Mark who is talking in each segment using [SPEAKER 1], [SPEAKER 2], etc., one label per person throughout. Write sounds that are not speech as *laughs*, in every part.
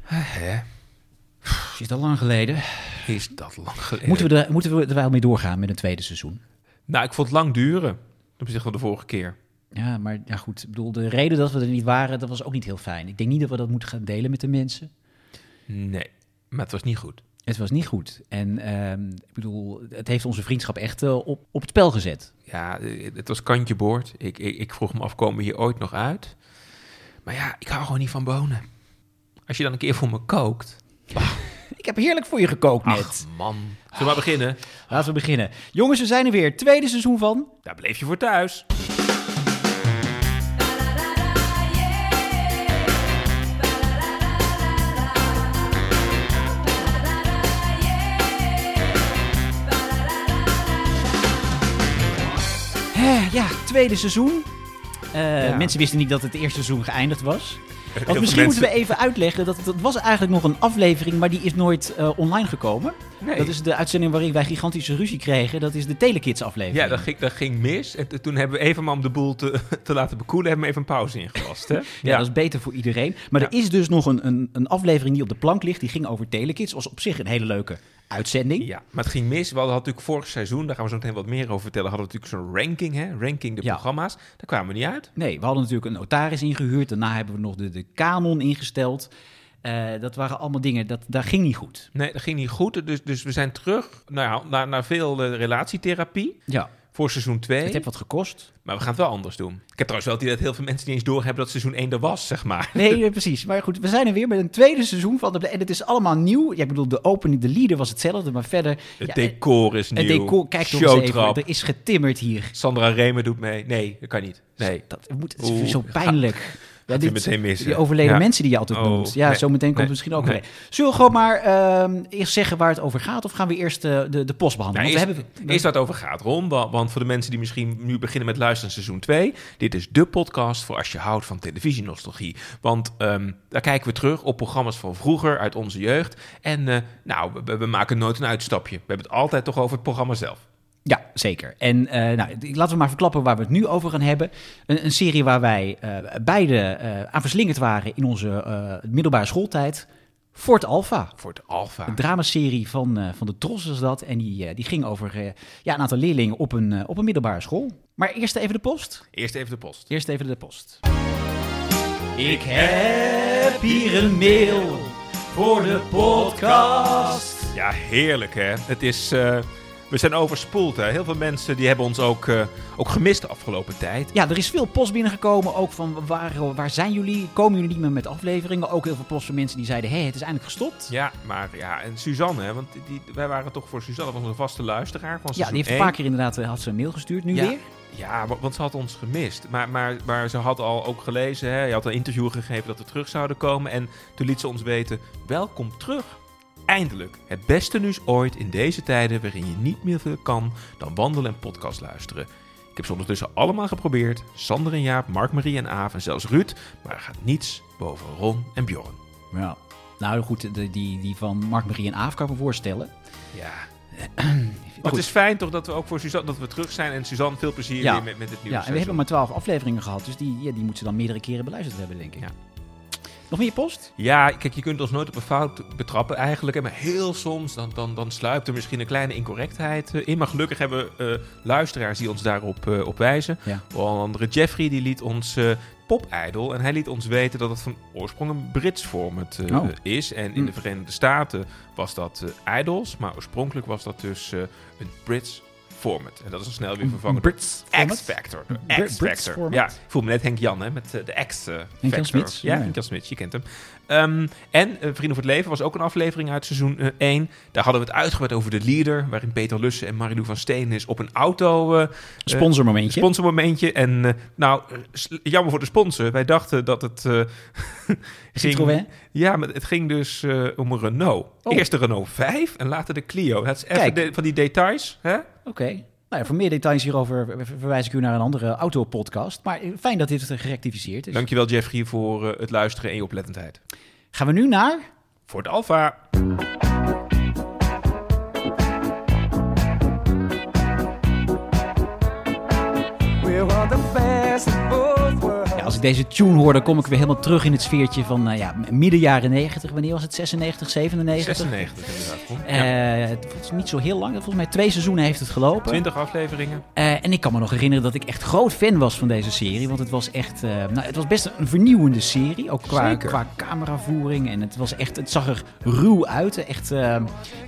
[SPEAKER 1] hè.
[SPEAKER 2] Is dat lang geleden?
[SPEAKER 1] Is dat lang geleden?
[SPEAKER 2] Moeten we, er, moeten we er wel mee doorgaan met een tweede seizoen?
[SPEAKER 1] Nou, ik vond het lang duren. Ten opzichte van de vorige keer.
[SPEAKER 2] Ja, maar ja, goed. Ik bedoel, de reden dat we er niet waren, dat was ook niet heel fijn. Ik denk niet dat we dat moeten gaan delen met de mensen.
[SPEAKER 1] Nee, maar het was niet goed.
[SPEAKER 2] Het was niet goed. En ehm, ik bedoel, het heeft onze vriendschap echt eh, op, op het spel gezet.
[SPEAKER 1] Ja, eh, het was kantje boord. Ik, ik, ik vroeg me af, komen we hier ooit nog uit? Maar ja, ik hou gewoon niet van bonen. Als je dan een keer voor me kookt...
[SPEAKER 2] Ik heb heerlijk voor je gekookt net.
[SPEAKER 1] Ach, man. Zullen we maar beginnen?
[SPEAKER 2] Laten we beginnen. Jongens, we zijn er weer. Tweede seizoen van
[SPEAKER 1] Daar bleef je voor thuis.
[SPEAKER 2] Hè, ja, tweede seizoen. Eh,
[SPEAKER 1] Ja.
[SPEAKER 2] Mensen wisten niet dat het eerste seizoen geëindigd was.
[SPEAKER 1] veel
[SPEAKER 2] Want misschien
[SPEAKER 1] mensen-
[SPEAKER 2] moeten we even uitleggen dat dat was eigenlijk nog een aflevering, maar die is nooit eh, online gekomen.
[SPEAKER 1] Nee.
[SPEAKER 2] Dat is de uitzending waarin wij gigantische ruzie kregen. Dat is de Telekids aflevering.
[SPEAKER 1] Ja, dat ging, dat ging mis. En t- toen hebben we even maar om de boel te, te laten bekoelen... hebben we even een pauze ingelast, hè? Ja,
[SPEAKER 2] Ja, dat is beter voor iedereen. Maar
[SPEAKER 1] Ja.
[SPEAKER 2] er is dus nog een, een, een aflevering die op de plank ligt. Die ging over Telekids. Was op zich een hele leuke uitzending.
[SPEAKER 1] Ja, maar het ging mis. We hadden natuurlijk vorig seizoen, daar gaan we zo meteen wat meer over vertellen, hadden we natuurlijk zo'n ranking, hè? ranking de
[SPEAKER 2] Ja.
[SPEAKER 1] programma's. Daar kwamen we niet uit.
[SPEAKER 2] Nee, we hadden natuurlijk een notaris ingehuurd. Daarna hebben we nog de, de kanon ingesteld. Eh, dat waren allemaal dingen, dat, dat ging niet goed.
[SPEAKER 1] Nee, dat ging niet goed. Dus, dus we zijn terug nou ja, naar, naar veel eh, relatietherapie
[SPEAKER 2] Ja,
[SPEAKER 1] voor seizoen 2.
[SPEAKER 2] het heeft wat
[SPEAKER 1] *laughs*
[SPEAKER 2] gekost.
[SPEAKER 1] Maar we gaan het wel anders doen. Ik heb trouwens wel het idee dat heel veel mensen niet eens doorhebben dat seizoen 1 er was, zeg maar.
[SPEAKER 2] Nee, eh, precies. Maar goed, we zijn er weer met een tweede seizoen van. De, en het is allemaal nieuw. Ja, ik bedoel, de opening, de leader was hetzelfde, maar verder...
[SPEAKER 1] Het
[SPEAKER 2] ja,
[SPEAKER 1] decor is nieuw.
[SPEAKER 2] het decor, kijk toch eens even.
[SPEAKER 1] Showtrap.
[SPEAKER 2] Er is getimmerd hier.
[SPEAKER 1] Sandra Remer doet mee. Nee, dat kan niet. Nee.
[SPEAKER 2] Dus Dat moet, het is
[SPEAKER 1] Oeh,
[SPEAKER 2] zo pijnlijk. Ja,
[SPEAKER 1] je meteen missen.
[SPEAKER 2] Die overleden
[SPEAKER 1] Ja.
[SPEAKER 2] mensen die je altijd
[SPEAKER 1] Oh,
[SPEAKER 2] noemt. Ja,
[SPEAKER 1] nee,
[SPEAKER 2] zo meteen
[SPEAKER 1] nee,
[SPEAKER 2] komt het misschien ook
[SPEAKER 1] nee.
[SPEAKER 2] weer. Zullen we gewoon maar ehm, eerst zeggen waar het over gaat? Of gaan we eerst eh, de, de post behandelen?
[SPEAKER 1] Nou,
[SPEAKER 2] Want
[SPEAKER 1] eerst,
[SPEAKER 2] we hebben,
[SPEAKER 1] eerst waar het over gaat, Ron. wa- Want voor de mensen die misschien nu beginnen met luisteren naar seizoen 2. Dit is de podcast voor als je houdt van televisienostalgie. Want ehm, daar kijken we terug op programma's van vroeger, uit onze jeugd. En eh, nou, we- we, we maken nooit een uitstapje. We hebben het altijd toch over het programma zelf.
[SPEAKER 2] Ja, zeker. En eh, nou, d- laten we maar verklappen waar we het nu over gaan hebben. Een, een serie waar wij eh beide eh, aan verslingerd waren in onze eh, middelbare schooltijd. Fort Alpha.
[SPEAKER 1] Voor het Alfa.
[SPEAKER 2] Een dramaserie van, eh, van de Tros was dat. En die, eh, die ging over eh, ja, een aantal leerlingen op een, eh, op een middelbare school. Maar eerst even de post.
[SPEAKER 1] Eerst even de post.
[SPEAKER 2] Eerst even de post. Ik heb hier een mail voor de podcast.
[SPEAKER 1] Ja, heerlijk hè. Het is, eh, we zijn overspoeld hè. Heel veel mensen die hebben ons ook, eh, ook gemist de afgelopen tijd.
[SPEAKER 2] Ja, er is veel post binnengekomen, ook van waar, waar zijn jullie? Komen jullie niet meer met afleveringen? Ook heel veel post van mensen die zeiden, hé, het is eindelijk gestopt. Ja,
[SPEAKER 1] Ja, maar ja, en Suzanne, hè, want die, wij waren toch voor Suzanne, dat was een vaste luisteraar van seizoen
[SPEAKER 2] die heeft een
[SPEAKER 1] 1.
[SPEAKER 2] paar keer inderdaad eh, had ze een mail gestuurd, nu
[SPEAKER 1] Ja.
[SPEAKER 2] weer.
[SPEAKER 1] Ja, wa- want ze had ons gemist. Maar, maar, maar ze had al ook gelezen, hè? je had een interview gegeven dat we terug zouden komen. En toen liet ze ons weten, welkom terug. Eindelijk, het beste nieuws ooit in deze tijden waarin je niet meer veel kan dan wandelen en podcast luisteren. Ik heb ze ondertussen allemaal geprobeerd. Sander en Jaap, Mark, Marie en Aaf en zelfs Ruud. Maar er gaat niets boven Ron en Bjorn.
[SPEAKER 2] Ja. Nou goed, de, die, die van Mark, Marie en Aaf kan ik me voorstellen.
[SPEAKER 1] Ja,
[SPEAKER 2] Goed.
[SPEAKER 1] maar het is fijn toch dat we ook voor Suzanne dat we terug zijn. En Suzanne, veel plezier
[SPEAKER 2] Ja.
[SPEAKER 1] weer met, met het nieuwe
[SPEAKER 2] ja, en we hebben
[SPEAKER 1] seizoen.
[SPEAKER 2] maar twaalf afleveringen gehad, dus die, ja, die moet ze dan meerdere keren beluisterd hebben, denk ik.
[SPEAKER 1] Ja.
[SPEAKER 2] Nog meer post?
[SPEAKER 1] Ja, kijk, je kunt ons nooit op een fout betrappen eigenlijk. hè, Maar heel soms, dan, dan, dan sluipt er misschien een kleine incorrectheid eh, in. Maar gelukkig hebben we eh, luisteraars die ons daarop eh, op wijzen.
[SPEAKER 2] Ja.
[SPEAKER 1] Onder andere Jeffrey, die liet ons eh pop-idol. En hij liet ons weten dat het van oorsprong een Brits format eh,
[SPEAKER 2] Oh.
[SPEAKER 1] is. En in
[SPEAKER 2] Mm.
[SPEAKER 1] de Verenigde Staten was dat eh, idols. Maar oorspronkelijk was dat dus eh, een Brits format. En dat is al snel weer vervangen door
[SPEAKER 2] Brits
[SPEAKER 1] X-Factor.
[SPEAKER 2] Br- Brits
[SPEAKER 1] X-Factor.
[SPEAKER 2] format?
[SPEAKER 1] Ja, ik voel me net Henk Jan hè, met eh, de X-Factor.
[SPEAKER 2] Henk Jan Smits?
[SPEAKER 1] Ja,
[SPEAKER 2] Ja.
[SPEAKER 1] Henk Jan Smits, je kent hem. Ehm, en eh, Vrienden voor het Leven was ook een aflevering uit seizoen 1. Daar hadden we het uitgebreid over de leader, waarin Peter Lussen en Marilou van Steen is op een auto eh,
[SPEAKER 2] Sponsormomentje.
[SPEAKER 1] sponsormomentje. En eh, nou, eh, s- jammer voor de sponsor. Wij dachten dat het
[SPEAKER 2] *laughs*
[SPEAKER 1] eh, ging...
[SPEAKER 2] Citroën.
[SPEAKER 1] Ja, maar het ging dus eh, om een Renault.
[SPEAKER 2] Oh.
[SPEAKER 1] Eerst de Renault 5 en later de Clio. Dat is even
[SPEAKER 2] Kijk.
[SPEAKER 1] de- van die details, hè?
[SPEAKER 2] Oké. Nou ja, voor meer details hierover ver- ver- verwijs ik u naar een andere autopodcast. Maar eh, fijn dat dit eh, gerectificeerd is.
[SPEAKER 1] Dankjewel Jeffrey voor eh, het luisteren en je oplettendheid.
[SPEAKER 2] Gaan we nu naar...
[SPEAKER 1] Voor het Alfa.
[SPEAKER 3] We were the best of both worlds.
[SPEAKER 2] Ja, als ik deze tune hoor, dan kom ik weer helemaal terug in het sfeertje van eh, ja, midden jaren 90. Wanneer was het? 96, 97?
[SPEAKER 1] 96 inderdaad. Ron.
[SPEAKER 2] Eh,
[SPEAKER 1] Ja.
[SPEAKER 2] het was niet zo heel lang. Volgens mij twee seizoenen heeft het gelopen.
[SPEAKER 1] 20 afleveringen.
[SPEAKER 2] Eh, en ik kan me nog herinneren dat ik echt groot fan was van deze serie. Want het was echt. eh, nou, het was best een vernieuwende serie. Ook qua,
[SPEAKER 1] Zeker.
[SPEAKER 2] qua cameravoering. En het, was echt, het zag er ruw uit. hè. Echt. eh,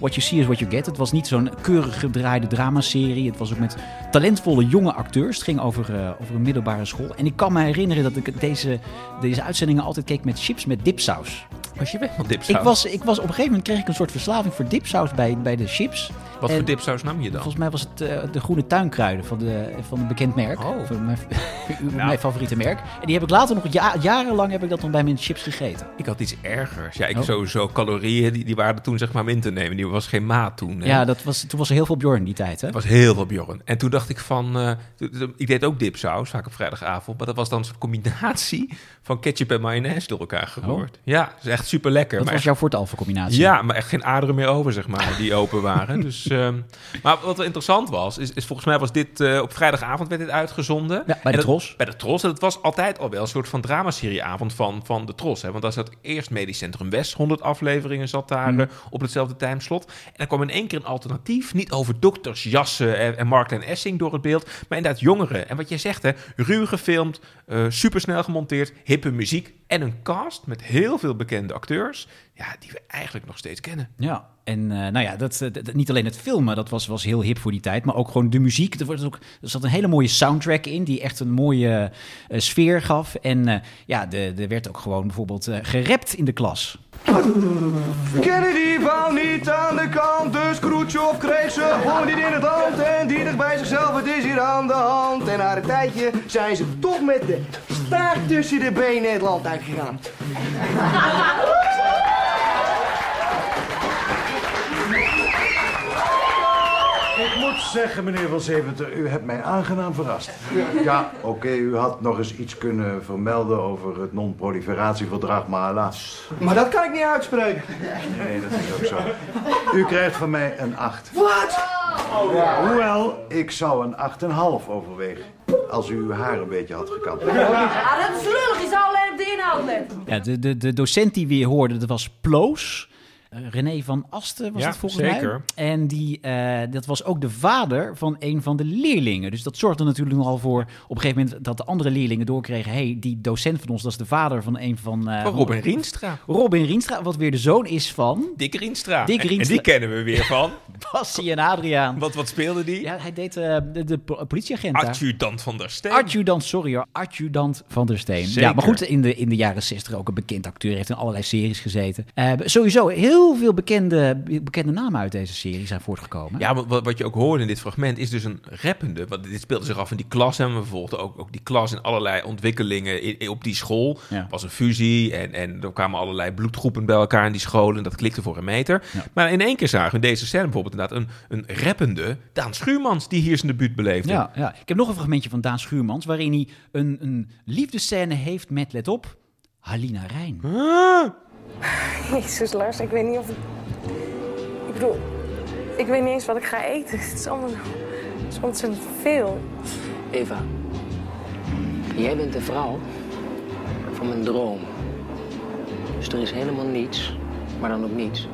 [SPEAKER 2] what you see is what you get. Het was niet zo'n keurig gedraaide dramaserie. Het was ook met talentvolle jonge acteurs. Het ging over, eh, over een middelbare school. En ik kan me herinneren dat ik deze, deze uitzendingen altijd keek met chips met dipsaus.
[SPEAKER 1] Was je weg van
[SPEAKER 2] Ik
[SPEAKER 1] dipsaus?
[SPEAKER 2] was, ik was op een gegeven moment kreeg ik een soort verslaving voor dipsaus bij, bij de chips.
[SPEAKER 1] Wat
[SPEAKER 2] en-
[SPEAKER 1] voor dipsaus nam je dan?
[SPEAKER 2] eh, Volgens mij was het eh, de groene tuinkruiden van, de, van een bekend merk.
[SPEAKER 1] Oh.
[SPEAKER 2] Van mijn, *laughs*
[SPEAKER 1] Nou.
[SPEAKER 2] mijn favoriete merk. En die heb ik later nog, ja, jarenlang heb ik dat nog bij mijn chips gegeten.
[SPEAKER 1] Ik had iets ergers. Ja, ik
[SPEAKER 2] Oh.
[SPEAKER 1] sowieso calorieën, die, die waren toen zeg maar om in te nemen. Die was geen maat toen. hè.
[SPEAKER 2] Ja, dat was, toen was er heel veel Bjorn in die tijd. Hè?
[SPEAKER 1] Het was heel veel Bjorn. En toen dacht ik van... eh, toen- toen- ik deed ook dipsaus, vaak op vrijdagavond. Maar dat was dan een soort combinatie van ketchup en mayonaise door elkaar gehoord. Ja, dat is echt super lekker.
[SPEAKER 2] Oh. Dat was jouw voor alfa combinatie.
[SPEAKER 1] Ja, maar echt geen aderen meer over, zeg maar, die open waren. Dus, ehm, maar wat wel interessant was, is, is volgens mij was dit... eh, op vrijdagavond werd dit uitgezonden.
[SPEAKER 2] bij de
[SPEAKER 1] En dat-
[SPEAKER 2] Tros.
[SPEAKER 1] Bij de Tros. En dat was altijd al wel een soort van dramaserieavond van, van de Tros. Hè? Want daar zat eerst Medisch Centrum West. 100 afleveringen zat daar
[SPEAKER 2] Mhm.
[SPEAKER 1] eh, op hetzelfde timeslot. En dan kwam in één keer een alternatief. Niet over dokters, jassen eh, en, en Mark en Essing door het beeld. Maar inderdaad jongeren. En wat jij zegt, hè, ruw gefilmd, eh, supersnel gemonteerd, hippe muziek. En een cast met heel veel bekende acteurs. Ja, die we eigenlijk nog steeds kennen.
[SPEAKER 2] Ja, en eh, nou ja, dat, eh, dat- niet alleen het filmen, dat was, was heel hip voor die tijd, maar ook gewoon de muziek. Er, wordt ook, er zat een hele mooie soundtrack in, die echt een mooie eh, sfeer gaf. En eh, ja, de- er werd ook gewoon bijvoorbeeld eh gerapt in de klas.
[SPEAKER 3] Kennedy wou niet aan de kant, dus Khrushchev kreeg ze gewoon niet in het land. En die dacht bij zichzelf, het is hier aan de hand. En na een tijdje zijn ze toch met de staart tussen de benen het land uitgegaan.
[SPEAKER 4] Ik moet zeggen, meneer Van Zeventer, u hebt mij aangenaam verrast. Ja, oké, u had nog eens iets kunnen vermelden over het non-proliferatieverdrag, maar helaas.
[SPEAKER 3] Maar dat kan ik niet uitspreken.
[SPEAKER 4] Nee, dat is ook zo. U krijgt van mij een 8.
[SPEAKER 3] Wat?
[SPEAKER 4] Hoewel, ik zou een 8,5 overwegen. Als u uw haar een beetje had gekapt.
[SPEAKER 5] Ah, dat is lullig. Je zou alleen op de inhoud letten.
[SPEAKER 2] Ja, de, de, de docent die we hier hoorden, dat was Ploos. Eh, René van Asten was
[SPEAKER 1] Ja,
[SPEAKER 2] het volgens
[SPEAKER 1] zeker.
[SPEAKER 2] mij. En die, eh, dat was ook de vader van een van de leerlingen. Dus dat zorgde natuurlijk nogal voor op een gegeven moment dat de andere leerlingen doorkregen... hé, hey, die docent van ons, dat is de vader van een van... eh,
[SPEAKER 1] Maar Robin Rienstra.
[SPEAKER 2] Robin Rienstra, wat weer de zoon is van
[SPEAKER 1] Dick Rienstra.
[SPEAKER 2] Dick
[SPEAKER 1] En- En,
[SPEAKER 2] Rienstra.
[SPEAKER 1] die kennen we weer
[SPEAKER 2] *laughs*
[SPEAKER 1] van.
[SPEAKER 2] Bassie en Adriaan.
[SPEAKER 1] Wat, wat speelde die?
[SPEAKER 2] Ja, hij deed eh, de, de po- politieagent daar.
[SPEAKER 1] Adjudant van der Steen.
[SPEAKER 2] Adjudant, sorry hoor, adjudant van der Steen.
[SPEAKER 1] Zeker.
[SPEAKER 2] Ja, maar goed, in de, in de jaren 60 ook een bekend acteur. Heeft in allerlei series gezeten. Eh, sowieso, heel veel bekende, bekende namen uit deze serie zijn voortgekomen.
[SPEAKER 1] Ja, maar wat, wat je ook hoorde in dit fragment is dus een rappende. Want dit speelde zich af in die klas. En we volgden ook, ook die klas en allerlei ontwikkelingen in- in- op die school.
[SPEAKER 2] Ja.
[SPEAKER 1] Er was een fusie en, en er kwamen allerlei bloedgroepen bij elkaar in die scholen. Dat klikte voor een meter. Maar in één keer zagen we in deze scène bijvoorbeeld inderdaad een, een rappende Daan Schuurmans die hier zijn debuut beleefde.
[SPEAKER 2] Ja, ja. Ik heb nog een fragmentje van Daan Schuurmans... waarin hij een, een liefdescène heeft met, let op, Halina Rijn.
[SPEAKER 6] Jezus, Lars, ik weet niet of ik... Ik bedoel, ik weet niet eens wat ik ga eten. *laughs* Het is allemaal zo het is ontzettend veel.
[SPEAKER 7] Eva, jij bent de vrouw van mijn droom. Dus er is helemaal niets, maar dan ook niets,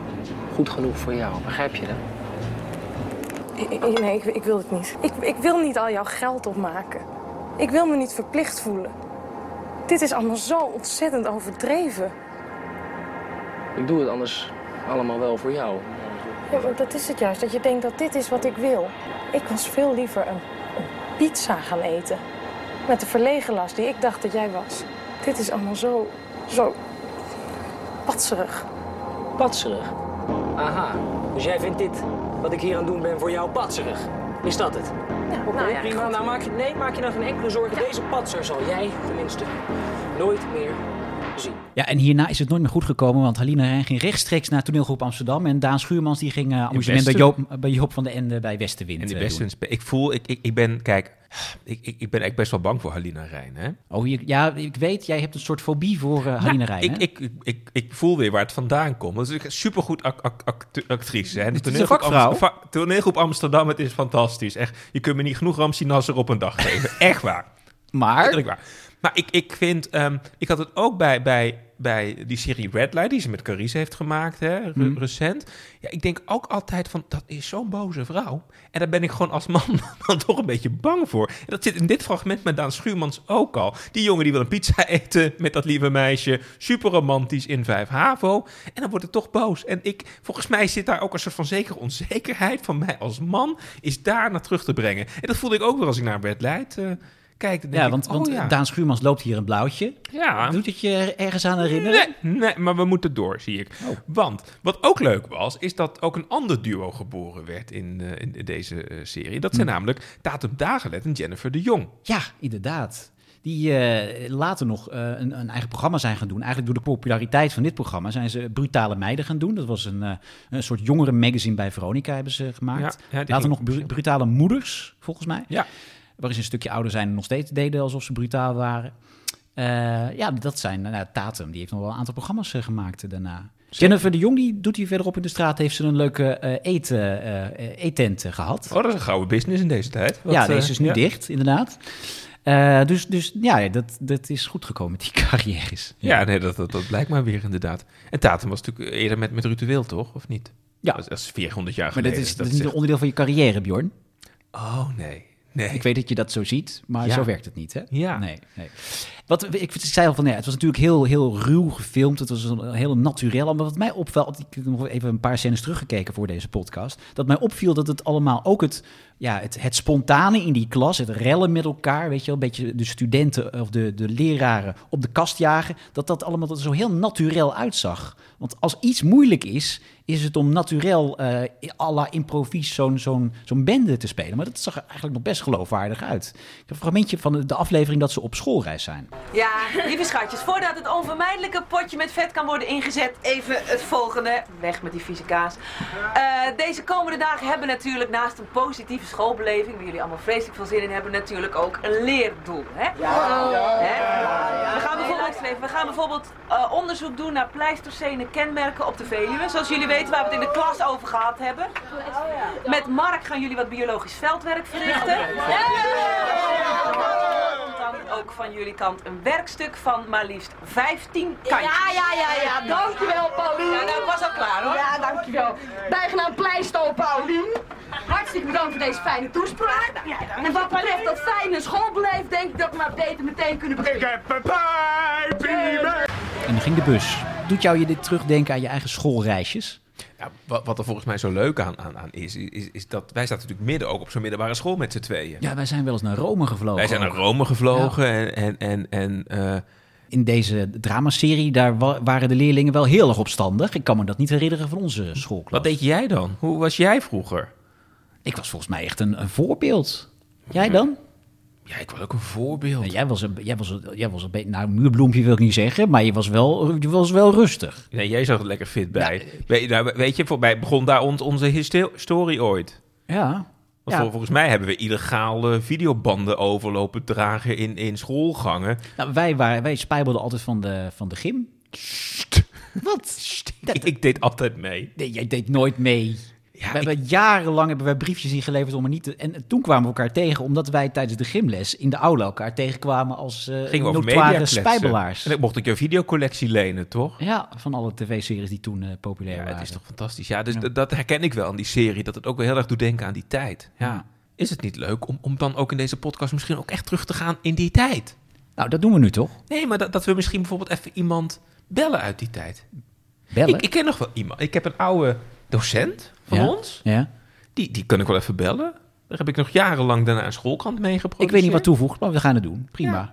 [SPEAKER 7] goed genoeg voor jou. Begrijp je dat?
[SPEAKER 6] I- I- Nee, ik, ik wil het niet. Ik, ik wil niet al jouw geld opmaken. Ik wil me niet verplicht voelen. Dit is allemaal zo ontzettend overdreven.
[SPEAKER 7] Ik doe het anders allemaal wel voor jou.
[SPEAKER 6] Ja, maar dat is het juist, dat je denkt dat dit is wat ik wil. Ik was veel liever een, een pizza gaan eten. Met de verlegen last die ik dacht dat jij was. Dit is allemaal zo, zo patserig.
[SPEAKER 7] Patserig. Aha, dus jij vindt dit, wat ik hier aan het doen ben, voor jou patserig? Is dat het?
[SPEAKER 6] Ja,
[SPEAKER 7] Oké, prima. Nou, maak je, nee, maak je nou geen enkele zorgen. Deze patser zal jij, tenminste, nooit meer zien.
[SPEAKER 2] Ja, en hierna is het nooit meer goed gekomen, want Halina Rijn ging rechtstreeks naar toneelgroep Amsterdam. En Daan Schuurmans die ging eh, amusement bij Joop,
[SPEAKER 1] Westen.
[SPEAKER 2] bij Joop van de Ende bij Westenwind.
[SPEAKER 1] En die
[SPEAKER 2] eh,
[SPEAKER 1] beste,
[SPEAKER 2] doen.
[SPEAKER 1] ik voel, ik, ik, ik ben, kijk, ik, ik, ik ben echt best wel bang voor Halina Rijn. Hè?
[SPEAKER 2] Oh, je- ja, ik weet, jij hebt een soort fobie voor eh, Halina Rijn.
[SPEAKER 1] Nou, Ik,
[SPEAKER 2] hè?
[SPEAKER 1] ik, ik, ik, ik voel weer waar het vandaan komt. Dat is een supergoed ac- ac- act- actrice. Hè. De
[SPEAKER 2] Het is een
[SPEAKER 1] toneelgroep
[SPEAKER 2] vakvrouw.
[SPEAKER 1] Amst- va- toneelgroep Amsterdam, het
[SPEAKER 2] *laughs*
[SPEAKER 1] is fantastisch. Echt, je kunt me niet genoeg Ramsey Nasser op een dag geven. Echt waar.
[SPEAKER 2] maar
[SPEAKER 1] Eigenlijk waar. Maar ik, ik vind, ehm, ik had het ook bij, bij, bij die serie Red Light, die ze met Carice heeft gemaakt, hè, re-
[SPEAKER 2] Mhm.
[SPEAKER 1] recent. Ja, ik denk ook altijd van, dat is zo'n boze vrouw. En daar ben ik gewoon als man *laughs* dan toch een beetje bang voor. En dat zit in dit fragment met Daan Schuurmans ook al. Die jongen die wil een pizza *laughs* eten met dat lieve meisje. Super romantisch in 5 HAVO. En dan wordt het toch boos. En ik, volgens mij zit daar ook een soort van zekere onzekerheid van mij als man, is daar naar terug te brengen. En dat voelde ik ook weer als ik naar Red Light eh, kijk. Dan denk
[SPEAKER 2] Ja,
[SPEAKER 1] ik,
[SPEAKER 2] want,
[SPEAKER 1] oh
[SPEAKER 2] want
[SPEAKER 1] ja.
[SPEAKER 2] Daan Schuurmans loopt hier een blauwtje.
[SPEAKER 1] Ja.
[SPEAKER 2] Doet het je er- ergens aan herinneren?
[SPEAKER 1] Nee, nee, maar we moeten door, zie ik.
[SPEAKER 2] Oh.
[SPEAKER 1] Want wat ook leuk was, is dat ook een ander duo geboren werd in, eh, in, in deze eh, serie. Dat zijn
[SPEAKER 2] Hm.
[SPEAKER 1] namelijk Tatum Dagelet en Jennifer de Jong. Oh,
[SPEAKER 2] Ja, inderdaad. Die eh, later nog eh, een, een eigen programma zijn gaan doen. Eigenlijk door de populariteit van dit programma zijn ze Brutale Meiden gaan doen. Dat was een, eh, een soort jongere magazine bij Veronica hebben ze gemaakt.
[SPEAKER 1] Ja, ja, die
[SPEAKER 2] later
[SPEAKER 1] ging-
[SPEAKER 2] nog Bru- Brutale Moeders, volgens mij.
[SPEAKER 1] Ja.
[SPEAKER 2] Waarin ze een stukje ouder zijn en nog steeds deden alsof ze brutaal waren. Eh, ja, dat zijn nou, Tatum. Die heeft nog wel een aantal programma's eh, gemaakt eh, daarna. Jennifer de Jong, die doet hier verderop in de straat. Heeft ze een leuke eh eten, eh, eh, eettent eh, gehad
[SPEAKER 1] Oh, dat is een gouden business in deze tijd. Wat,
[SPEAKER 2] ja,
[SPEAKER 1] eh,
[SPEAKER 2] deze is nu
[SPEAKER 1] ja.
[SPEAKER 2] dicht, inderdaad. Eh, dus, dus ja, dat, dat is goed gekomen met die *laughs* carrières.
[SPEAKER 1] Ja, nee, dat, dat, dat blijkt maar weer inderdaad. En Tatum was natuurlijk eerder met, met Ruud de Wild, toch? Of niet?
[SPEAKER 2] Ja.
[SPEAKER 1] Dat is, dat is 400 jaar
[SPEAKER 2] maar dat
[SPEAKER 1] geleden.
[SPEAKER 2] is, dat
[SPEAKER 1] dus
[SPEAKER 2] is niet een onderdeel van je carrière, Bjorn.
[SPEAKER 1] echt- Oh, nee. Nee.
[SPEAKER 2] Ik weet dat je dat zo ziet, maar
[SPEAKER 1] Ja.
[SPEAKER 2] zo werkt het niet, hè?
[SPEAKER 1] Ja.
[SPEAKER 2] Nee, nee. Wat, ik, ik zei al van, ja, het was natuurlijk heel, heel ruw gefilmd. Het was een, een heel naturel. Maar wat mij opvalt, ik heb nog even een paar scènes teruggekeken voor deze podcast. Dat mij opviel dat het allemaal ook het, ja, het, het spontane in die klas, het rellen met elkaar, weet je wel, een beetje de studenten eh, of de, de leraren op de kast jagen, dat dat allemaal er zo heel naturel uitzag. Want als iets moeilijk is, is het om naturel eh à la improvies zo'n zo'n zo'n bende te spelen. Maar dat zag er eigenlijk nog best geloofwaardig uit. Ik heb een fragmentje van de aflevering dat ze op schoolreis zijn.
[SPEAKER 8] Ja, lieve schatjes, voordat het onvermijdelijke potje met vet kan worden ingezet, even het volgende. Weg met die vieze kaas. Eh, deze komende dagen hebben natuurlijk naast een positieve schoolbeleving, waar jullie allemaal vreselijk veel zin in hebben, natuurlijk ook een leerdoel. Hè? Hè? We gaan bijvoorbeeld, even, we gaan bijvoorbeeld eh, onderzoek doen naar pleistocene kenmerken op de Veluwe. Zoals jullie weten, waar we het in de klas over gehad hebben. Met Mark gaan jullie wat biologisch veldwerk verrichten. Dan ook van jullie kant een werkstuk van maar liefst 15 kantjes.
[SPEAKER 5] Ja, ja, ja, ja. Dankjewel, Paulien.
[SPEAKER 8] Ja, nou, ik was al klaar hoor.
[SPEAKER 5] Ja, dankjewel. Bijgenaam Pleisto, Paulien. Hartstikke bedankt voor deze fijne toespraak. En wat betreft dat fijne schoolbeleef, denk ik dat we maar beter meteen kunnen beginnen.
[SPEAKER 2] En dan ging de bus. Doet jou je dit terugdenken aan je eigen schoolreisjes?
[SPEAKER 1] Ja, Nou, wat, wat er volgens mij zo leuk aan, aan, aan is, is, is dat wij zaten natuurlijk midden ook op zo'n middelbare school met z'n tweeën.
[SPEAKER 2] Ja, wij zijn wel eens naar Rome gevlogen.
[SPEAKER 1] Wij zijn naar
[SPEAKER 2] ook.
[SPEAKER 1] Rome gevlogen en, en, en, en eh,
[SPEAKER 2] In deze dramaserie, daar wa- waren de leerlingen wel heel erg opstandig. Ik kan me dat niet herinneren van onze schoolklas.
[SPEAKER 1] wat deed jij dan? Hoe was jij vroeger?
[SPEAKER 2] Ik was volgens mij echt een, een voorbeeld. Jij dan?
[SPEAKER 1] Ja, ik was ook een voorbeeld.
[SPEAKER 2] Nou, jij was een, jij was een, jij was een beetje, nou, muurbloempje wil ik niet zeggen, maar je was wel, je was wel rustig.
[SPEAKER 1] Nee, jij zag er lekker fit bij. Weet, nou, weet je, voor mij begon daar ons, onze histo- story ooit.
[SPEAKER 2] Ja.
[SPEAKER 1] Want
[SPEAKER 2] Ja.
[SPEAKER 1] vol- volgens mij hebben we illegaal eh, videobanden overlopen dragen in, in schoolgangen. *laughs*
[SPEAKER 2] Nou, wij, waren, wij spijbelden altijd van de, van de gym. Wat? Dat-
[SPEAKER 1] Ik, ik deed altijd mee.
[SPEAKER 2] nee, jij deed nooit mee. we hebben jarenlang hebben wij briefjes ingeleverd om er niet te... En toen kwamen we elkaar tegen, omdat wij tijdens de gymles in de aula elkaar tegenkwamen als eh
[SPEAKER 1] Gingen we over media
[SPEAKER 2] notoire
[SPEAKER 1] kletsen.
[SPEAKER 2] spijbelaars.
[SPEAKER 1] En dan mocht ik jouw videocollectie lenen, toch?
[SPEAKER 2] Ja, van alle tv-series die toen eh, populair
[SPEAKER 1] Ja,
[SPEAKER 2] waren.
[SPEAKER 1] het is toch fantastisch. Ja, dus d- dat herken ik wel aan die serie. Dat het ook wel heel erg doet denken aan die tijd. Ja.
[SPEAKER 2] Ja.
[SPEAKER 1] Is het niet leuk om, om dan ook in deze podcast misschien ook echt terug te gaan in die tijd?
[SPEAKER 2] Nou, dat doen we nu toch?
[SPEAKER 1] Nee, maar dat, dat we misschien bijvoorbeeld even iemand bellen uit die tijd.
[SPEAKER 2] Bellen?
[SPEAKER 1] Ik, ik ken nog wel iemand. Ik heb een oude docent van
[SPEAKER 2] Ja.
[SPEAKER 1] ons.
[SPEAKER 2] ja.
[SPEAKER 1] Die, die kan ik wel even bellen. Daar heb ik nog jarenlang daarna een schoolkrant mee geproduceerd.
[SPEAKER 2] Ik weet niet wat toevoegt, maar we gaan het doen. Prima.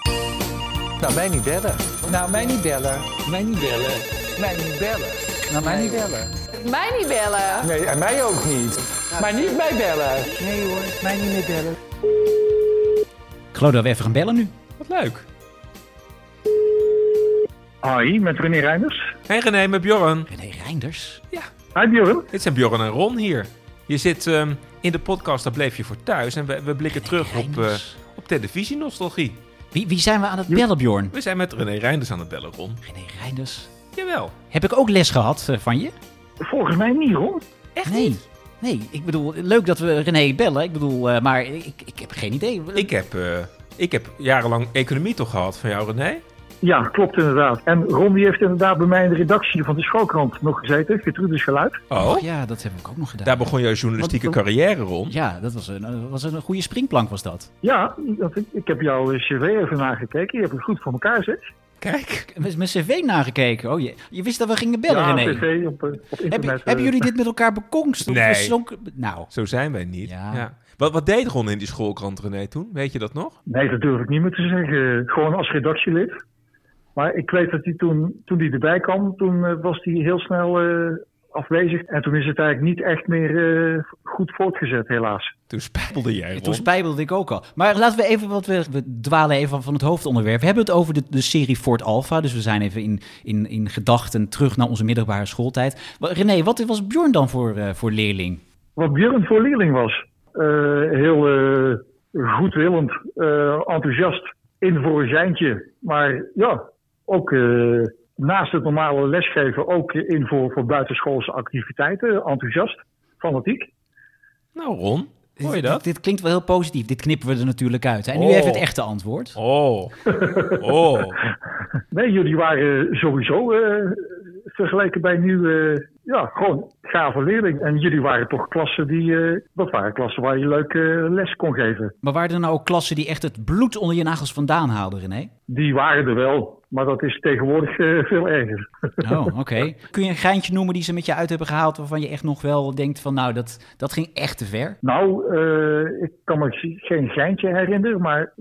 [SPEAKER 9] Nou, mij niet bellen. Nou, mij niet bellen. Mij niet bellen. Mij niet bellen. Nou, mij niet bellen.
[SPEAKER 5] Mij niet bellen.
[SPEAKER 9] Nee, en mij ook niet. Maar niet mij bellen. Nee hoor, mij niet meer bellen.
[SPEAKER 2] Ik geloof dat we even gaan bellen nu.
[SPEAKER 1] Wat leuk.
[SPEAKER 10] Hoi, met René Reinders.
[SPEAKER 1] Hey René, met Bjorn.
[SPEAKER 2] René Reinders.
[SPEAKER 10] Hi Bjorn.
[SPEAKER 1] Dit zijn Bjorn en Ron hier. Je zit ehm, in de podcast, daar bleef je voor thuis. En we, we blikken terug op, eh
[SPEAKER 2] Reinders.
[SPEAKER 1] op televisienostalgie.
[SPEAKER 2] Wie, wie zijn we aan het bellen, Bjorn?
[SPEAKER 1] We zijn met René Reinders aan het bellen, Ron.
[SPEAKER 2] René Reinders.
[SPEAKER 1] Jawel.
[SPEAKER 2] Heb ik ook les gehad eh, van je?
[SPEAKER 10] Volgens mij niet hoor.
[SPEAKER 2] Echt nee. niet? Nee, ik bedoel, leuk dat we René bellen. Ik bedoel, eh, maar ik, ik heb geen idee.
[SPEAKER 1] Ik heb eh, Ik heb jarenlang economie toch gehad van jou, René?
[SPEAKER 10] Ja, klopt inderdaad. En Ron die heeft inderdaad bij mij in de redactie van de schoolkrant nog gezeten. Gertrudes Geluid.
[SPEAKER 1] Oh,
[SPEAKER 2] Och ja, dat hebben we ook nog gedaan.
[SPEAKER 1] daar begon jouw journalistieke
[SPEAKER 10] Wat-
[SPEAKER 1] carrière rond.
[SPEAKER 2] Ja, dat was een, eh, was een goede springplank was dat.
[SPEAKER 10] Ja, dat- ik, ik heb jouw cv even nagekeken. Je hebt het goed voor elkaar, zeg.
[SPEAKER 2] Oh,
[SPEAKER 1] Kijk.
[SPEAKER 2] Met mijn cv nagekeken. Oh, je, je wist dat we gingen bellen,
[SPEAKER 10] ja,
[SPEAKER 2] René.
[SPEAKER 10] cv op, eh, op internet.
[SPEAKER 2] Heb-
[SPEAKER 10] eh,
[SPEAKER 2] hebben jullie dit met elkaar bekongst? Of
[SPEAKER 1] Nee.
[SPEAKER 2] verzonken- Nou,
[SPEAKER 1] Zo zijn wij niet. Ja.
[SPEAKER 2] Ja.
[SPEAKER 1] Wat, wat deed Ron in die schoolkrant, René, toen? Weet je dat nog?
[SPEAKER 10] Nee, dat durf ik niet meer te zeggen. Gewoon als redactielid. Maar ik weet dat hij toen, toen hij erbij kwam, toen eh, was hij heel snel eh, afwezig. En toen is het eigenlijk niet echt meer eh, goed voortgezet, helaas.
[SPEAKER 1] Toen spijbelde jij Ron.
[SPEAKER 2] toen spijbelde ik ook al. Maar laten we even, wat we, we dwalen even van het hoofdonderwerp. We hebben het over de, de serie Fort Alpha. Dus we zijn even in, in, in gedachten terug naar onze middelbare schooltijd. Wa- René, wat was Bjorn dan voor, eh, voor leerling?
[SPEAKER 10] Wat Björn voor leerling was. eh, heel eh, goedwillend, eh, enthousiast, in voor een geintje. Maar ja, ook eh, naast het normale lesgeven ook in voor, voor buitenschoolse activiteiten. Enthousiast, fanatiek.
[SPEAKER 1] Nou, Ron, hoor je
[SPEAKER 2] Dit-
[SPEAKER 1] dat?
[SPEAKER 2] Dit, dit klinkt wel heel positief. Dit knippen we er natuurlijk uit. hè. En nu
[SPEAKER 1] Oh.
[SPEAKER 2] heeft het echte antwoord.
[SPEAKER 1] Oh, oh.
[SPEAKER 2] *laughs*
[SPEAKER 10] Nee, jullie waren sowieso eh, vergeleken bij nu eh, ja, gewoon gave leerling. En jullie waren toch klassen die, eh, dat waren klassen waar je leuk eh, les kon geven.
[SPEAKER 2] Maar waren er nou ook klassen die echt het bloed onder je nagels vandaan haalden, René?
[SPEAKER 10] Die waren er wel, maar dat is tegenwoordig eh, veel erger.
[SPEAKER 2] Oh, oké. *laughs* Kun je een geintje noemen die ze met je uit hebben gehaald... waarvan je echt nog wel denkt van... nou, dat, dat ging echt te ver?
[SPEAKER 10] Nou, eh, ik kan me geen geintje herinneren, maar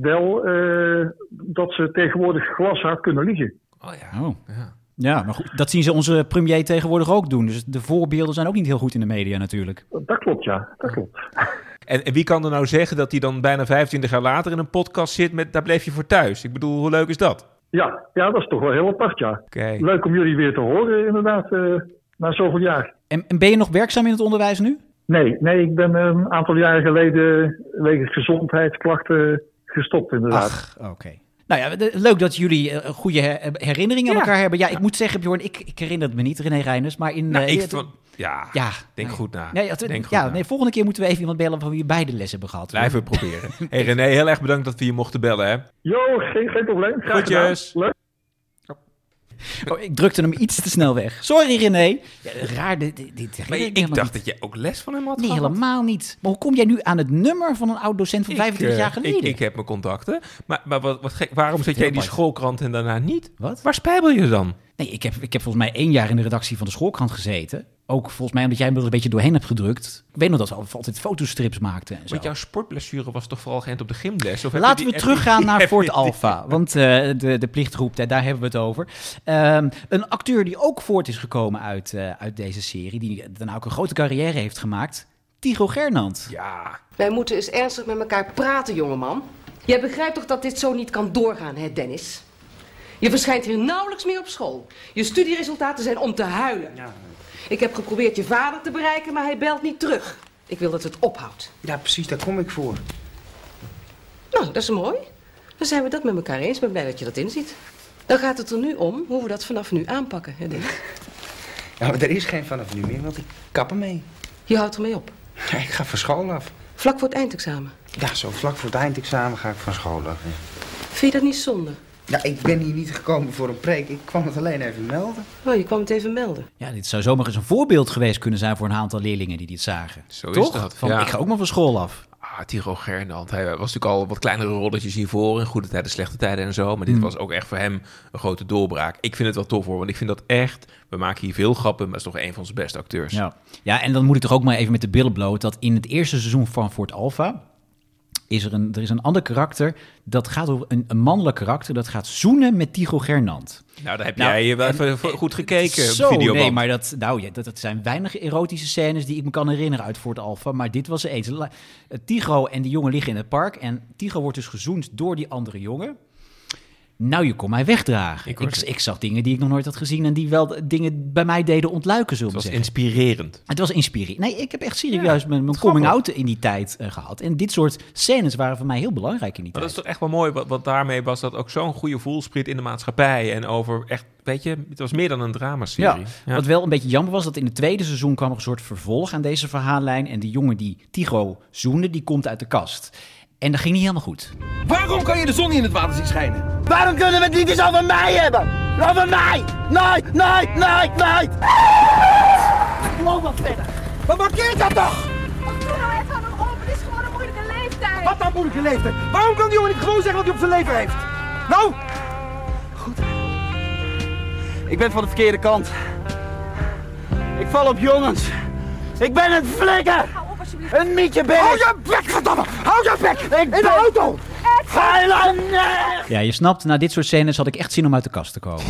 [SPEAKER 10] wel eh, dat ze tegenwoordig glashard kunnen liegen.
[SPEAKER 1] Oh ja.
[SPEAKER 2] Oh.
[SPEAKER 1] Ja.
[SPEAKER 2] Ja, maar goed, dat zien ze onze premier tegenwoordig ook doen. Dus de voorbeelden zijn ook niet heel goed in de media natuurlijk.
[SPEAKER 10] Dat klopt, ja. Dat klopt.
[SPEAKER 1] En, en wie kan er nou zeggen dat hij dan bijna 25 jaar later in een podcast zit met daar bleef je voor thuis? Ik bedoel, hoe leuk is dat?
[SPEAKER 10] Ja, ja dat is toch wel heel apart, ja.
[SPEAKER 1] Oké. Nou,
[SPEAKER 10] Leuk om jullie weer te horen, inderdaad, eh, na zoveel jaar.
[SPEAKER 2] En, en ben je nog werkzaam in het onderwijs nu?
[SPEAKER 10] Nee, nee, ik ben eh, een aantal jaren geleden wegens gezondheidsklachten gestopt inderdaad.
[SPEAKER 2] Ach, oké. Nou ja, de- leuk dat jullie eh, een goede her- herinneringen aan
[SPEAKER 1] Ja.
[SPEAKER 2] elkaar hebben. Ja, ik moet zeggen, Bjorn, ik, ik herinner het me niet, René Reiners. Maar in...
[SPEAKER 1] Nou,
[SPEAKER 2] eh,
[SPEAKER 1] ik
[SPEAKER 2] het-
[SPEAKER 1] vond- ja,
[SPEAKER 2] ja,
[SPEAKER 1] denk
[SPEAKER 2] nou,
[SPEAKER 1] goed na.
[SPEAKER 2] Nee, het-
[SPEAKER 1] denk goed
[SPEAKER 2] ja,
[SPEAKER 1] na.
[SPEAKER 2] nee, volgende keer moeten we even iemand bellen van wie beide les hebben gehad.
[SPEAKER 1] Blijven we
[SPEAKER 2] *laughs*
[SPEAKER 1] proberen. hey René, heel erg bedankt dat we je mochten bellen, hè?
[SPEAKER 10] Jo, geen, geen probleem. Graag gedaan.
[SPEAKER 1] Groetjes.
[SPEAKER 10] Leuk.
[SPEAKER 2] Oh, ik drukte hem iets te snel weg. Sorry, René. Ja, raar, dit, dit, dit herinner
[SPEAKER 1] Maar
[SPEAKER 2] ik
[SPEAKER 1] ik,
[SPEAKER 2] me helemaal
[SPEAKER 1] dacht
[SPEAKER 2] niet.
[SPEAKER 1] dat je ook les van hem had
[SPEAKER 2] Nee,
[SPEAKER 1] gehad.
[SPEAKER 2] helemaal niet. Maar hoe kom jij nu aan het nummer van een oud docent van
[SPEAKER 1] Ik,
[SPEAKER 2] 25
[SPEAKER 1] eh,
[SPEAKER 2] jaar geleden?
[SPEAKER 1] Ik, ik heb mijn contacten. Maar, maar wat, wat gek, waarom zet
[SPEAKER 2] Heel
[SPEAKER 1] jij die
[SPEAKER 2] apart.
[SPEAKER 1] schoolkrant en daarna niet?
[SPEAKER 2] Wat?
[SPEAKER 1] Waar spijbel je dan?
[SPEAKER 2] Nee, ik heb, ik heb volgens mij één jaar in de redactie van de schoolkrant gezeten. Ook volgens mij omdat jij me er een beetje doorheen hebt gedrukt. Ik weet nog dat we altijd fotostrips maakten en zo.
[SPEAKER 1] Want jouw sportblessure was toch vooral geënt op de gymles? Of heb je
[SPEAKER 2] Laten
[SPEAKER 1] die- *laughs*
[SPEAKER 2] we
[SPEAKER 1] heb
[SPEAKER 2] teruggaan
[SPEAKER 1] je-
[SPEAKER 2] naar
[SPEAKER 1] heb je
[SPEAKER 2] Fort
[SPEAKER 1] die-
[SPEAKER 2] Alpha. Want eh, de, de plicht roept, eh, daar hebben we het over. Ehm, een acteur die ook voort is gekomen uit, eh, uit deze serie. Die daarna ook een grote carrière heeft gemaakt. Tigo Gernand.
[SPEAKER 1] Ja,
[SPEAKER 11] Wij moeten eens ernstig met elkaar praten, jongeman. Jij begrijpt toch dat dit zo niet kan doorgaan, hè, Dennis? Je verschijnt hier nauwelijks meer op school. Je studieresultaten zijn om te huilen. Ik heb geprobeerd je vader te bereiken, maar hij belt niet terug. Ik wil dat het ophoudt.
[SPEAKER 9] Ja, precies, daar kom ik voor.
[SPEAKER 11] Nou, dat is mooi. Dan zijn we dat met elkaar eens. Ik ben blij dat je dat inziet. Dan gaat het er nu om hoe we dat vanaf nu aanpakken, hè, Dennis?
[SPEAKER 9] Ja, maar er is geen vanaf nu meer, want ik kap ermee.
[SPEAKER 11] Je houdt ermee op.
[SPEAKER 9] Ja, ik ga van school af.
[SPEAKER 11] Vlak voor het eindexamen.
[SPEAKER 9] Ja, zo vlak voor het eindexamen ga ik van school af. ja.
[SPEAKER 11] Vind je dat niet zonde?
[SPEAKER 9] Ja, ik ben hier niet gekomen voor een preek. Ik kwam het alleen even melden.
[SPEAKER 11] Oh, je kwam het even melden.
[SPEAKER 2] Ja, dit zou zomaar eens een voorbeeld geweest kunnen zijn voor een aantal leerlingen die dit zagen.
[SPEAKER 1] Zo is
[SPEAKER 2] Toch?
[SPEAKER 1] dat,
[SPEAKER 2] Van,
[SPEAKER 1] ja.
[SPEAKER 2] Ik ga ook maar van school af.
[SPEAKER 1] Ah, Tiro Gernand. Hij was natuurlijk al wat kleinere rolletjes hiervoor. In goede tijden, slechte tijden en zo. Maar dit was ook echt voor hem een grote doorbraak. Ik vind het wel tof hoor. Want ik vind dat echt. We maken hier veel grappen. Maar het is toch een van onze beste acteurs.
[SPEAKER 2] Ja. ja, en dan moet ik toch ook maar even met de billen bloot... dat in het eerste seizoen van Fort Alpha... Is er, een, er is een ander karakter, dat gaat over een, een mannelijk karakter... dat gaat zoenen met Tigo Gernand.
[SPEAKER 1] Nou, daar heb
[SPEAKER 2] Nou,
[SPEAKER 1] jij wel
[SPEAKER 2] en-
[SPEAKER 1] even vo- goed gekeken.
[SPEAKER 2] Zo,
[SPEAKER 1] videoband.
[SPEAKER 2] nee, maar dat, nou, ja, dat, dat zijn weinig erotische scènes... die ik me kan herinneren uit Fort Alpha. Maar dit was er eens. La- eh, Tigo en die jongen liggen in het park... en Tigo wordt dus gezoend door die andere jongen... Nou, je kon mij wegdragen.
[SPEAKER 1] Ik
[SPEAKER 2] Ik,
[SPEAKER 1] hoor
[SPEAKER 2] ik,
[SPEAKER 1] het.
[SPEAKER 2] zag dingen die ik nog nooit had gezien... en die wel d- dingen bij mij deden ontluiken, zullen
[SPEAKER 1] Het
[SPEAKER 2] we
[SPEAKER 1] was
[SPEAKER 2] zeggen.
[SPEAKER 1] inspirerend.
[SPEAKER 2] Het was inspirerend. Nee, ik heb echt serieus mijn, mijn coming-out in die tijd eh, gehad. En dit soort scènes waren voor mij heel belangrijk in die
[SPEAKER 1] Maar dat is
[SPEAKER 2] tijd.
[SPEAKER 1] toch echt wel mooi. Wat, wat daarmee was dat ook zo'n goede voelspriet in de maatschappij. En over echt, weet je, het was meer dan een
[SPEAKER 2] Ja,
[SPEAKER 1] dramaserie.
[SPEAKER 2] wat wel een beetje jammer was, dat in het tweede seizoen kwam er een soort vervolg aan deze verhaallijn. En die jongen die Tigo zoende, die komt uit de kast. En dat ging niet helemaal goed.
[SPEAKER 12] Waarom kan je de zon niet in het water zien schijnen? Waarom kunnen we het niet eens over mij hebben? Over mij! Nooit, nooit, nooit, nooit! Loop wat verder. Wat markeert dat toch?
[SPEAKER 5] Doe nou even aan hem op, het is gewoon een moeilijke leeftijd.
[SPEAKER 12] Wat dan moeilijke leeftijd? Waarom kan die jongen niet gewoon zeggen wat hij op zijn leven heeft? Nou? Goed. Ik ben van de verkeerde kant. Ik val op jongens. Ik ben een flikker. Een mietje ben Hou je bek, verdomme! Hou je bek! in de auto! Ga je lang- nee!
[SPEAKER 2] Ja, je snapt, na dit soort scènes had ik echt zin om uit de kast te komen.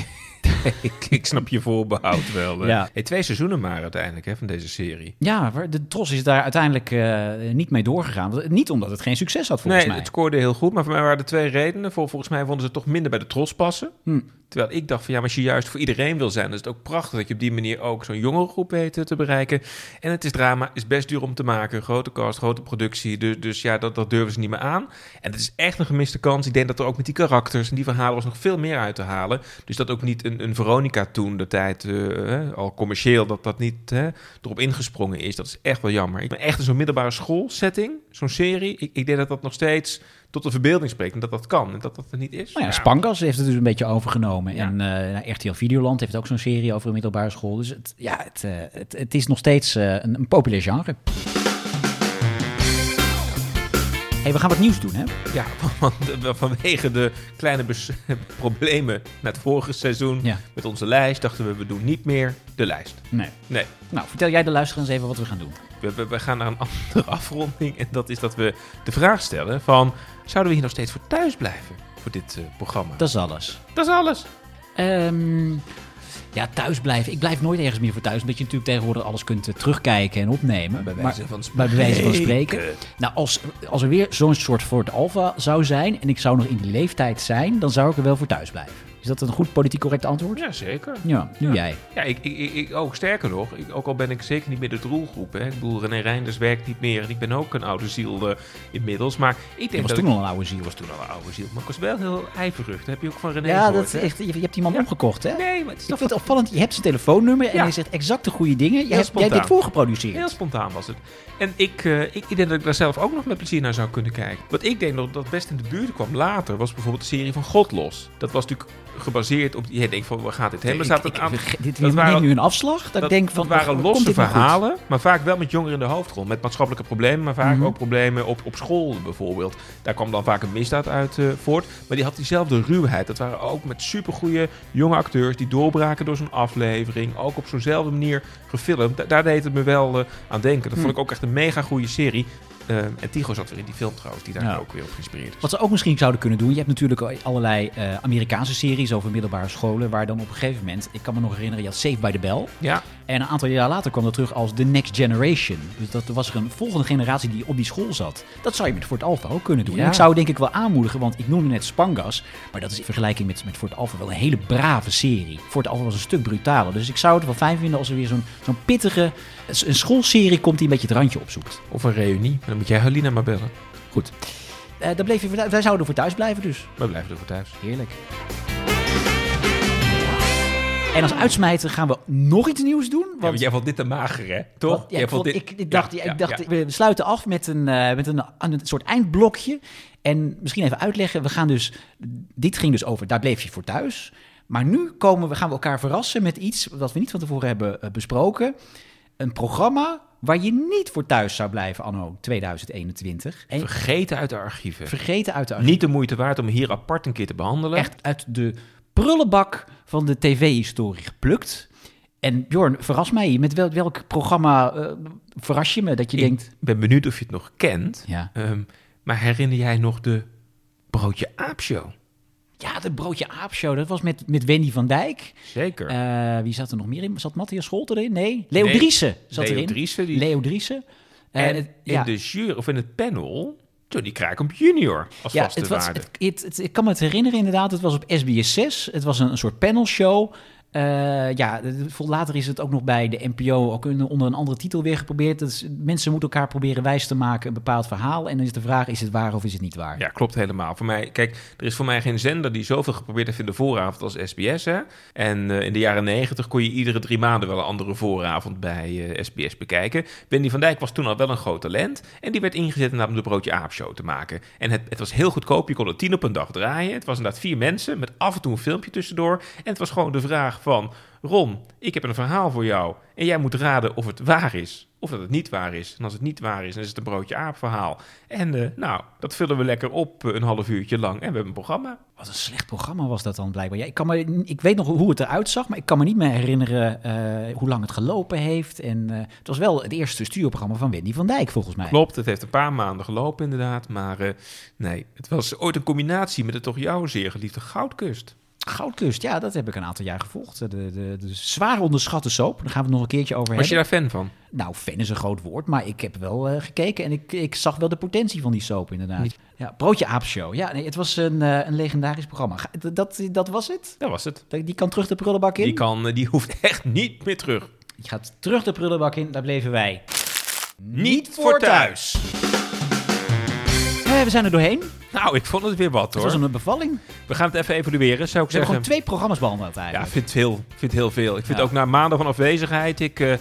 [SPEAKER 1] *laughs* ik, ik snap je voorbehoud wel. hè.
[SPEAKER 2] Ja.
[SPEAKER 1] Hey, twee seizoenen maar uiteindelijk hè, van deze serie.
[SPEAKER 2] Ja, waar- de Tros is daar uiteindelijk eh, niet mee doorgegaan. Want- Niet omdat het geen succes had, volgens
[SPEAKER 1] nee,
[SPEAKER 2] mij.
[SPEAKER 1] het scoorde heel goed, maar voor mij waren er twee redenen. Vol, volgens mij vonden ze het toch minder bij de tros passen.
[SPEAKER 2] Hm.
[SPEAKER 1] Terwijl ik dacht van ja, maar als je juist voor iedereen wil zijn, dan is het ook prachtig dat je op die manier ook zo'n jongere groep weet eh, te bereiken. En het is drama, is best duur om te maken. Grote cast, grote productie. Dus, dus ja, dat, dat durven ze niet meer aan. En het is echt een gemiste kans. Ik denk dat er ook met die karakters en die verhalen was nog veel meer uit te halen. Dus dat ook niet een, een Veronica toen de tijd, eh, hè, al commercieel, dat dat niet hè, erop ingesprongen is. Dat is echt wel jammer. Ik ben echt in zo'n middelbare schoolsetting, zo'n serie. Ik, ik denk dat dat nog steeds tot de verbeelding spreekt en dat dat kan en dat dat er niet is.
[SPEAKER 2] Nou ja, Spankas heeft het dus een beetje overgenomen. En eh, nou, RTL Videoland heeft ook zo'n serie over een middelbare school. Dus het, ja, het, eh, het, het is nog steeds eh, een, een populair genre. hey, we gaan wat nieuws doen, hè?
[SPEAKER 1] Ja, *laughs* want eh, vanwege de kleine bes- *laughs* problemen met vorige seizoen
[SPEAKER 2] Ja.
[SPEAKER 1] met onze lijst, dachten we, we doen niet meer de lijst.
[SPEAKER 2] Nee.
[SPEAKER 1] Nee.
[SPEAKER 2] Nou, vertel jij de luisteraars even wat we gaan doen.
[SPEAKER 1] We, we, we gaan naar een *laughs* andere afronding en dat is dat we de vraag stellen van, zouden we hier nog steeds voor thuis blijven voor dit eh, programma?
[SPEAKER 2] Dat is alles.
[SPEAKER 1] Dat is alles.
[SPEAKER 2] Ehm, ja, thuis blijven. Ik blijf nooit ergens meer voor thuis. Omdat je natuurlijk tegenwoordig alles kunt eh, terugkijken en opnemen.
[SPEAKER 1] Bij wijze
[SPEAKER 2] Maar-
[SPEAKER 1] van
[SPEAKER 2] Bij wijze van
[SPEAKER 1] spreken.
[SPEAKER 2] spreken. Nou, als, als er weer zo'n soort Ford Alfa zou zijn. en ik zou nog in die leeftijd zijn. dan zou ik er wel voor thuis blijven. Is dat een goed politiek correct antwoord?
[SPEAKER 1] Ja, zeker.
[SPEAKER 2] Ja, nu jij.
[SPEAKER 1] Ja, ik, ik, ik, ik ook. Sterker nog, ik, ook al ben ik zeker niet meer de doelgroep. Hè. Ik bedoel, René Reinders werkt niet meer en ik ben ook een oude ziel eh, inmiddels. Maar ik denk
[SPEAKER 2] Je was
[SPEAKER 1] dat
[SPEAKER 2] toen
[SPEAKER 1] ik-
[SPEAKER 2] al een oude ziel.
[SPEAKER 1] was toen al een oude ziel, maar ik was wel heel ijverig. Dat heb je ook van René
[SPEAKER 2] Ja,
[SPEAKER 1] gehoord,
[SPEAKER 2] dat is
[SPEAKER 1] hè?
[SPEAKER 2] echt, je, je hebt die man opgekocht, hè?
[SPEAKER 1] Nee, maar het is
[SPEAKER 2] ik vind het opvallend. Je hebt zijn telefoonnummer en hij zegt exact de goede dingen. Jij,
[SPEAKER 1] Heel
[SPEAKER 2] hebt- jij hebt dit
[SPEAKER 1] spontaan.
[SPEAKER 2] voorgeproduceerd.
[SPEAKER 1] Heel spontaan was het. En ik, eh, ik, ik denk dat ik daar zelf ook nog met plezier naar zou kunnen kijken. Wat ik denk nog dat best in de buurt kwam later, was bijvoorbeeld de serie van Godlos. Dat was natuurlijk gebaseerd op. Je denkt van, waar gaat dit heen? Maar er staat
[SPEAKER 2] Ik-
[SPEAKER 1] een
[SPEAKER 2] ik-
[SPEAKER 1] aantal-
[SPEAKER 2] ik- dit
[SPEAKER 1] dat
[SPEAKER 2] neemt
[SPEAKER 1] waren-
[SPEAKER 2] nu een afslag. Dat, ik denk van,
[SPEAKER 1] dat waren
[SPEAKER 2] komt
[SPEAKER 1] losse
[SPEAKER 2] dit nou goed?
[SPEAKER 1] verhalen, maar vaak wel met jongeren in de hoofdrol. Met maatschappelijke problemen, maar vaak
[SPEAKER 2] Mhm.
[SPEAKER 1] ook problemen op, op school bijvoorbeeld. Daar kwam dan vaak een misdaad uit eh, voort. Maar die had diezelfde ruwheid. Dat waren ook met supergoeie jonge acteurs die doorbraken door zo'n aflevering. Ook op zo'nzelfde manier gefilmd. Da- daar deed het me wel eh, aan denken. Dat
[SPEAKER 2] Hm.
[SPEAKER 1] vond ik ook echt een mega goede serie. Eh, en Tigo zat weer in die film trouwens, die daar
[SPEAKER 2] Ja.
[SPEAKER 1] ook weer op geïnspireerd is.
[SPEAKER 2] Wat ze ook misschien zouden kunnen doen. Je hebt natuurlijk allerlei eh, Amerikaanse series over middelbare scholen. Waar dan op een gegeven moment. Ik kan me nog herinneren, je had Safe by the Bell.
[SPEAKER 1] Ja.
[SPEAKER 2] En een aantal jaar later kwam dat terug als The Next Generation. Dus dat was er een volgende generatie die op die school zat. Dat zou je met Fort Alpha ook kunnen doen.
[SPEAKER 1] Ja.
[SPEAKER 2] En ik zou het denk ik wel aanmoedigen, want ik noemde net Spangas. Maar dat is in vergelijking met, met Fort Alpha wel een hele brave serie. Fort Alpha was een stuk brutaler. Dus ik zou het wel fijn vinden als er weer zo'n zo'n pittige. Een schoolserie komt die een beetje het randje opzoekt.
[SPEAKER 1] Of een reunie. Dan moet jij Helena maar bellen.
[SPEAKER 2] Goed. Eh daar bleef je, voor thu- wij zouden voor thuis blijven dus.
[SPEAKER 1] We blijven er voor thuis.
[SPEAKER 2] Heerlijk. En als uitsmijter gaan we nog iets nieuws doen. Want,
[SPEAKER 1] want jij vond dit te mager, hè? Toch?
[SPEAKER 2] Want- ja,
[SPEAKER 1] Jij
[SPEAKER 2] ik,
[SPEAKER 1] vond
[SPEAKER 2] vond,
[SPEAKER 1] dit-
[SPEAKER 2] ik, ik dacht,
[SPEAKER 1] Ja,
[SPEAKER 2] ik
[SPEAKER 1] ja,
[SPEAKER 2] dacht
[SPEAKER 1] ja.
[SPEAKER 2] we sluiten af met een, eh, met een, een soort eindblokje. En misschien even uitleggen. We gaan dus, dit ging dus over, daar bleef je voor thuis. Maar nu komen we, gaan we elkaar verrassen met iets wat we niet van tevoren hebben eh, besproken. Een programma waar je niet voor thuis zou blijven anno 2021. En
[SPEAKER 1] Vergeten uit de archieven.
[SPEAKER 2] vergeten uit de
[SPEAKER 1] Niet de moeite waard om hier apart een keer te behandelen.
[SPEAKER 2] echt uit de prullenbak van de tv-historie geplukt. En Bjorn, verras mij. Met wel- welk programma eh, verras je me dat je denkt...
[SPEAKER 1] Ik ben benieuwd of je het nog kent.
[SPEAKER 2] Ja.
[SPEAKER 1] Ehm, maar herinner jij nog de Broodje Aap Show?
[SPEAKER 2] Ja, de Broodje Aap Show, dat was met, met Wendy van Dijk.
[SPEAKER 1] Zeker.
[SPEAKER 2] Eh, wie zat er nog meer in? Zat Matthias Scholte erin? Nee, Leo
[SPEAKER 1] Nee,
[SPEAKER 2] Driessen zat
[SPEAKER 1] Leo
[SPEAKER 2] erin.
[SPEAKER 1] Driessen, die-
[SPEAKER 2] Leo Driessen. Eh,
[SPEAKER 1] en
[SPEAKER 2] het-
[SPEAKER 1] in
[SPEAKER 2] ja.
[SPEAKER 1] de jury, of in het panel, Johnny Kraaikamp junior als
[SPEAKER 2] ja,
[SPEAKER 1] vaste
[SPEAKER 2] het was,
[SPEAKER 1] waarde.
[SPEAKER 2] het, het- het- ik kan me het herinneren inderdaad. Het was op SBS 6. Het was een, een soort panelshow. Eh, ja, de- de- later is het ook nog bij de NPO ook een- onder een andere titel weer geprobeerd. Dat is- mensen moeten elkaar proberen wijs te maken een bepaald verhaal. En dan is de vraag, is het waar of is het niet waar?
[SPEAKER 1] Ja, klopt helemaal. Voor mij, kijk, er is voor mij geen zender die zoveel geprobeerd heeft in de vooravond als SBS. Hè? En eh, in de jaren negentig kon je iedere drie maanden wel een andere vooravond bij eh, SBS bekijken. Wendy van Dijk was toen al wel een groot talent. En die werd ingezet inderdaad om de Broodje Aap Show te maken. En het, het was heel goedkoop. Je kon het tien op een dag draaien. Het was inderdaad vier mensen met af en toe een filmpje tussendoor. En het was gewoon de vraag van... Ron, ik heb een verhaal voor jou. En jij moet raden of het waar is. Of dat het niet waar is. En als het niet waar is, dan is het een broodje aap verhaal. En eh, nou, dat vullen we lekker op eh, een half uurtje lang. En we hebben een programma.
[SPEAKER 2] Wat een slecht programma was dat dan blijkbaar. Ja, ik, kan me, ik weet nog hoe het eruit zag, maar ik kan me niet meer herinneren eh, hoe lang het gelopen heeft. En eh, het was wel het eerste stuurprogramma van Wendy van Dijk, volgens mij.
[SPEAKER 1] Klopt, het heeft een paar maanden gelopen inderdaad. Maar eh, nee, het was ooit een combinatie met het toch jouw zeer geliefde Goudkust.
[SPEAKER 2] Goudkust, ja, dat heb ik een aantal jaar gevolgd. De, de, de zwaar onderschatte soap, daar gaan we het nog een keertje over
[SPEAKER 1] Was je daar
[SPEAKER 2] hebben.
[SPEAKER 1] fan van?
[SPEAKER 2] Nou, fan is een groot woord, maar ik heb wel eh, gekeken en ik, ik zag wel de potentie van die soap inderdaad. Ja, Broodje Aap Show. Ja, nee, het was een, eh, een legendarisch programma. Ga- d- Dat, dat was het?
[SPEAKER 1] Dat was het.
[SPEAKER 2] Die kan terug de prullenbak in?
[SPEAKER 1] Die, kan, eh, die *laughs* hoeft echt niet meer terug.
[SPEAKER 2] Die gaat terug de prullenbak in, daar bleven wij.
[SPEAKER 1] Niet voor thuis.
[SPEAKER 2] Eh, we zijn er doorheen.
[SPEAKER 1] Nou, ik vond het weer wat
[SPEAKER 2] Het
[SPEAKER 1] hoor.
[SPEAKER 2] was een bevalling.
[SPEAKER 1] We gaan het even evalueren, zou ik
[SPEAKER 2] We hebben
[SPEAKER 1] zeggen.
[SPEAKER 2] gewoon twee programma's behandeld
[SPEAKER 1] Ja, ik
[SPEAKER 2] eigenlijk.
[SPEAKER 1] vind heel, vind heel veel. Ik vind
[SPEAKER 2] Ja.
[SPEAKER 1] ook na maanden van afwezigheid, ik, eh, ik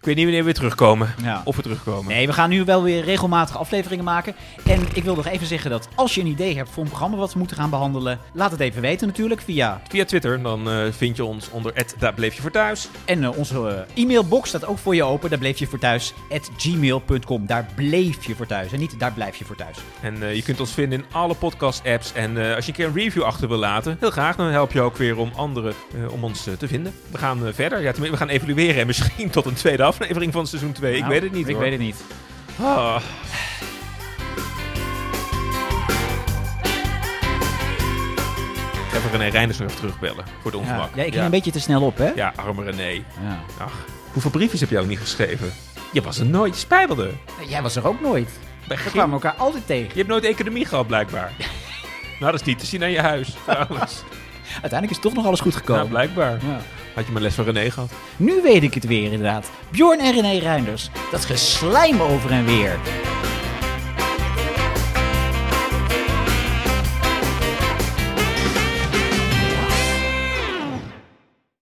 [SPEAKER 1] weet niet wanneer we weer terugkomen.
[SPEAKER 2] Ja.
[SPEAKER 1] Of we terugkomen.
[SPEAKER 2] Nee, we gaan nu wel weer regelmatig afleveringen maken. En ik wil nog even zeggen dat als je een idee hebt voor een programma wat we moeten gaan behandelen, laat het even weten natuurlijk via.
[SPEAKER 1] Via Twitter, dan eh, vind je ons onder het daar bleef je voor thuis.
[SPEAKER 2] En eh, onze eh, e-mailbox staat ook voor je open. Daar bleef je voor thuis. At gmail.com. Daar bleef je voor thuis. En niet daar blijf je voor thuis.
[SPEAKER 1] En eh, je kunt ons vinden in alle podcast-apps. En eh, als je een keer een review achter wil laten, heel graag. Dan help je ook weer om anderen eh, om ons eh, te vinden. We gaan eh, verder. Ja, tenminste, we gaan evalueren. En misschien *laughs* tot een tweede aflevering van seizoen 2. ik
[SPEAKER 2] Nou,
[SPEAKER 1] weet het niet
[SPEAKER 2] ik
[SPEAKER 1] hoor.
[SPEAKER 2] weet het niet.
[SPEAKER 1] Ah. Even René Reinders nog even terugbellen. Voor de
[SPEAKER 2] Ja,
[SPEAKER 1] ongemak.
[SPEAKER 2] ja, ik ging een beetje te snel op, hè?
[SPEAKER 1] Ja, arme René.
[SPEAKER 2] Ja.
[SPEAKER 1] Ach, hoeveel briefjes heb jij ook niet geschreven? Je was er nooit. Je spijbelde.
[SPEAKER 2] Jij was er ook nooit.
[SPEAKER 1] Bij
[SPEAKER 2] We
[SPEAKER 1] geen-
[SPEAKER 2] kwamen elkaar altijd tegen.
[SPEAKER 1] Je hebt nooit economie gehad, blijkbaar. nou, dat is niet te zien aan je huis. Trouwens.
[SPEAKER 2] Uiteindelijk is toch nog alles goed gekomen.
[SPEAKER 1] Nou, blijkbaar.
[SPEAKER 2] Ja.
[SPEAKER 1] Had je mijn les van René gehad?
[SPEAKER 2] Nu weet ik het weer inderdaad. Bjorn en René Reinders. Dat geslijm over en weer.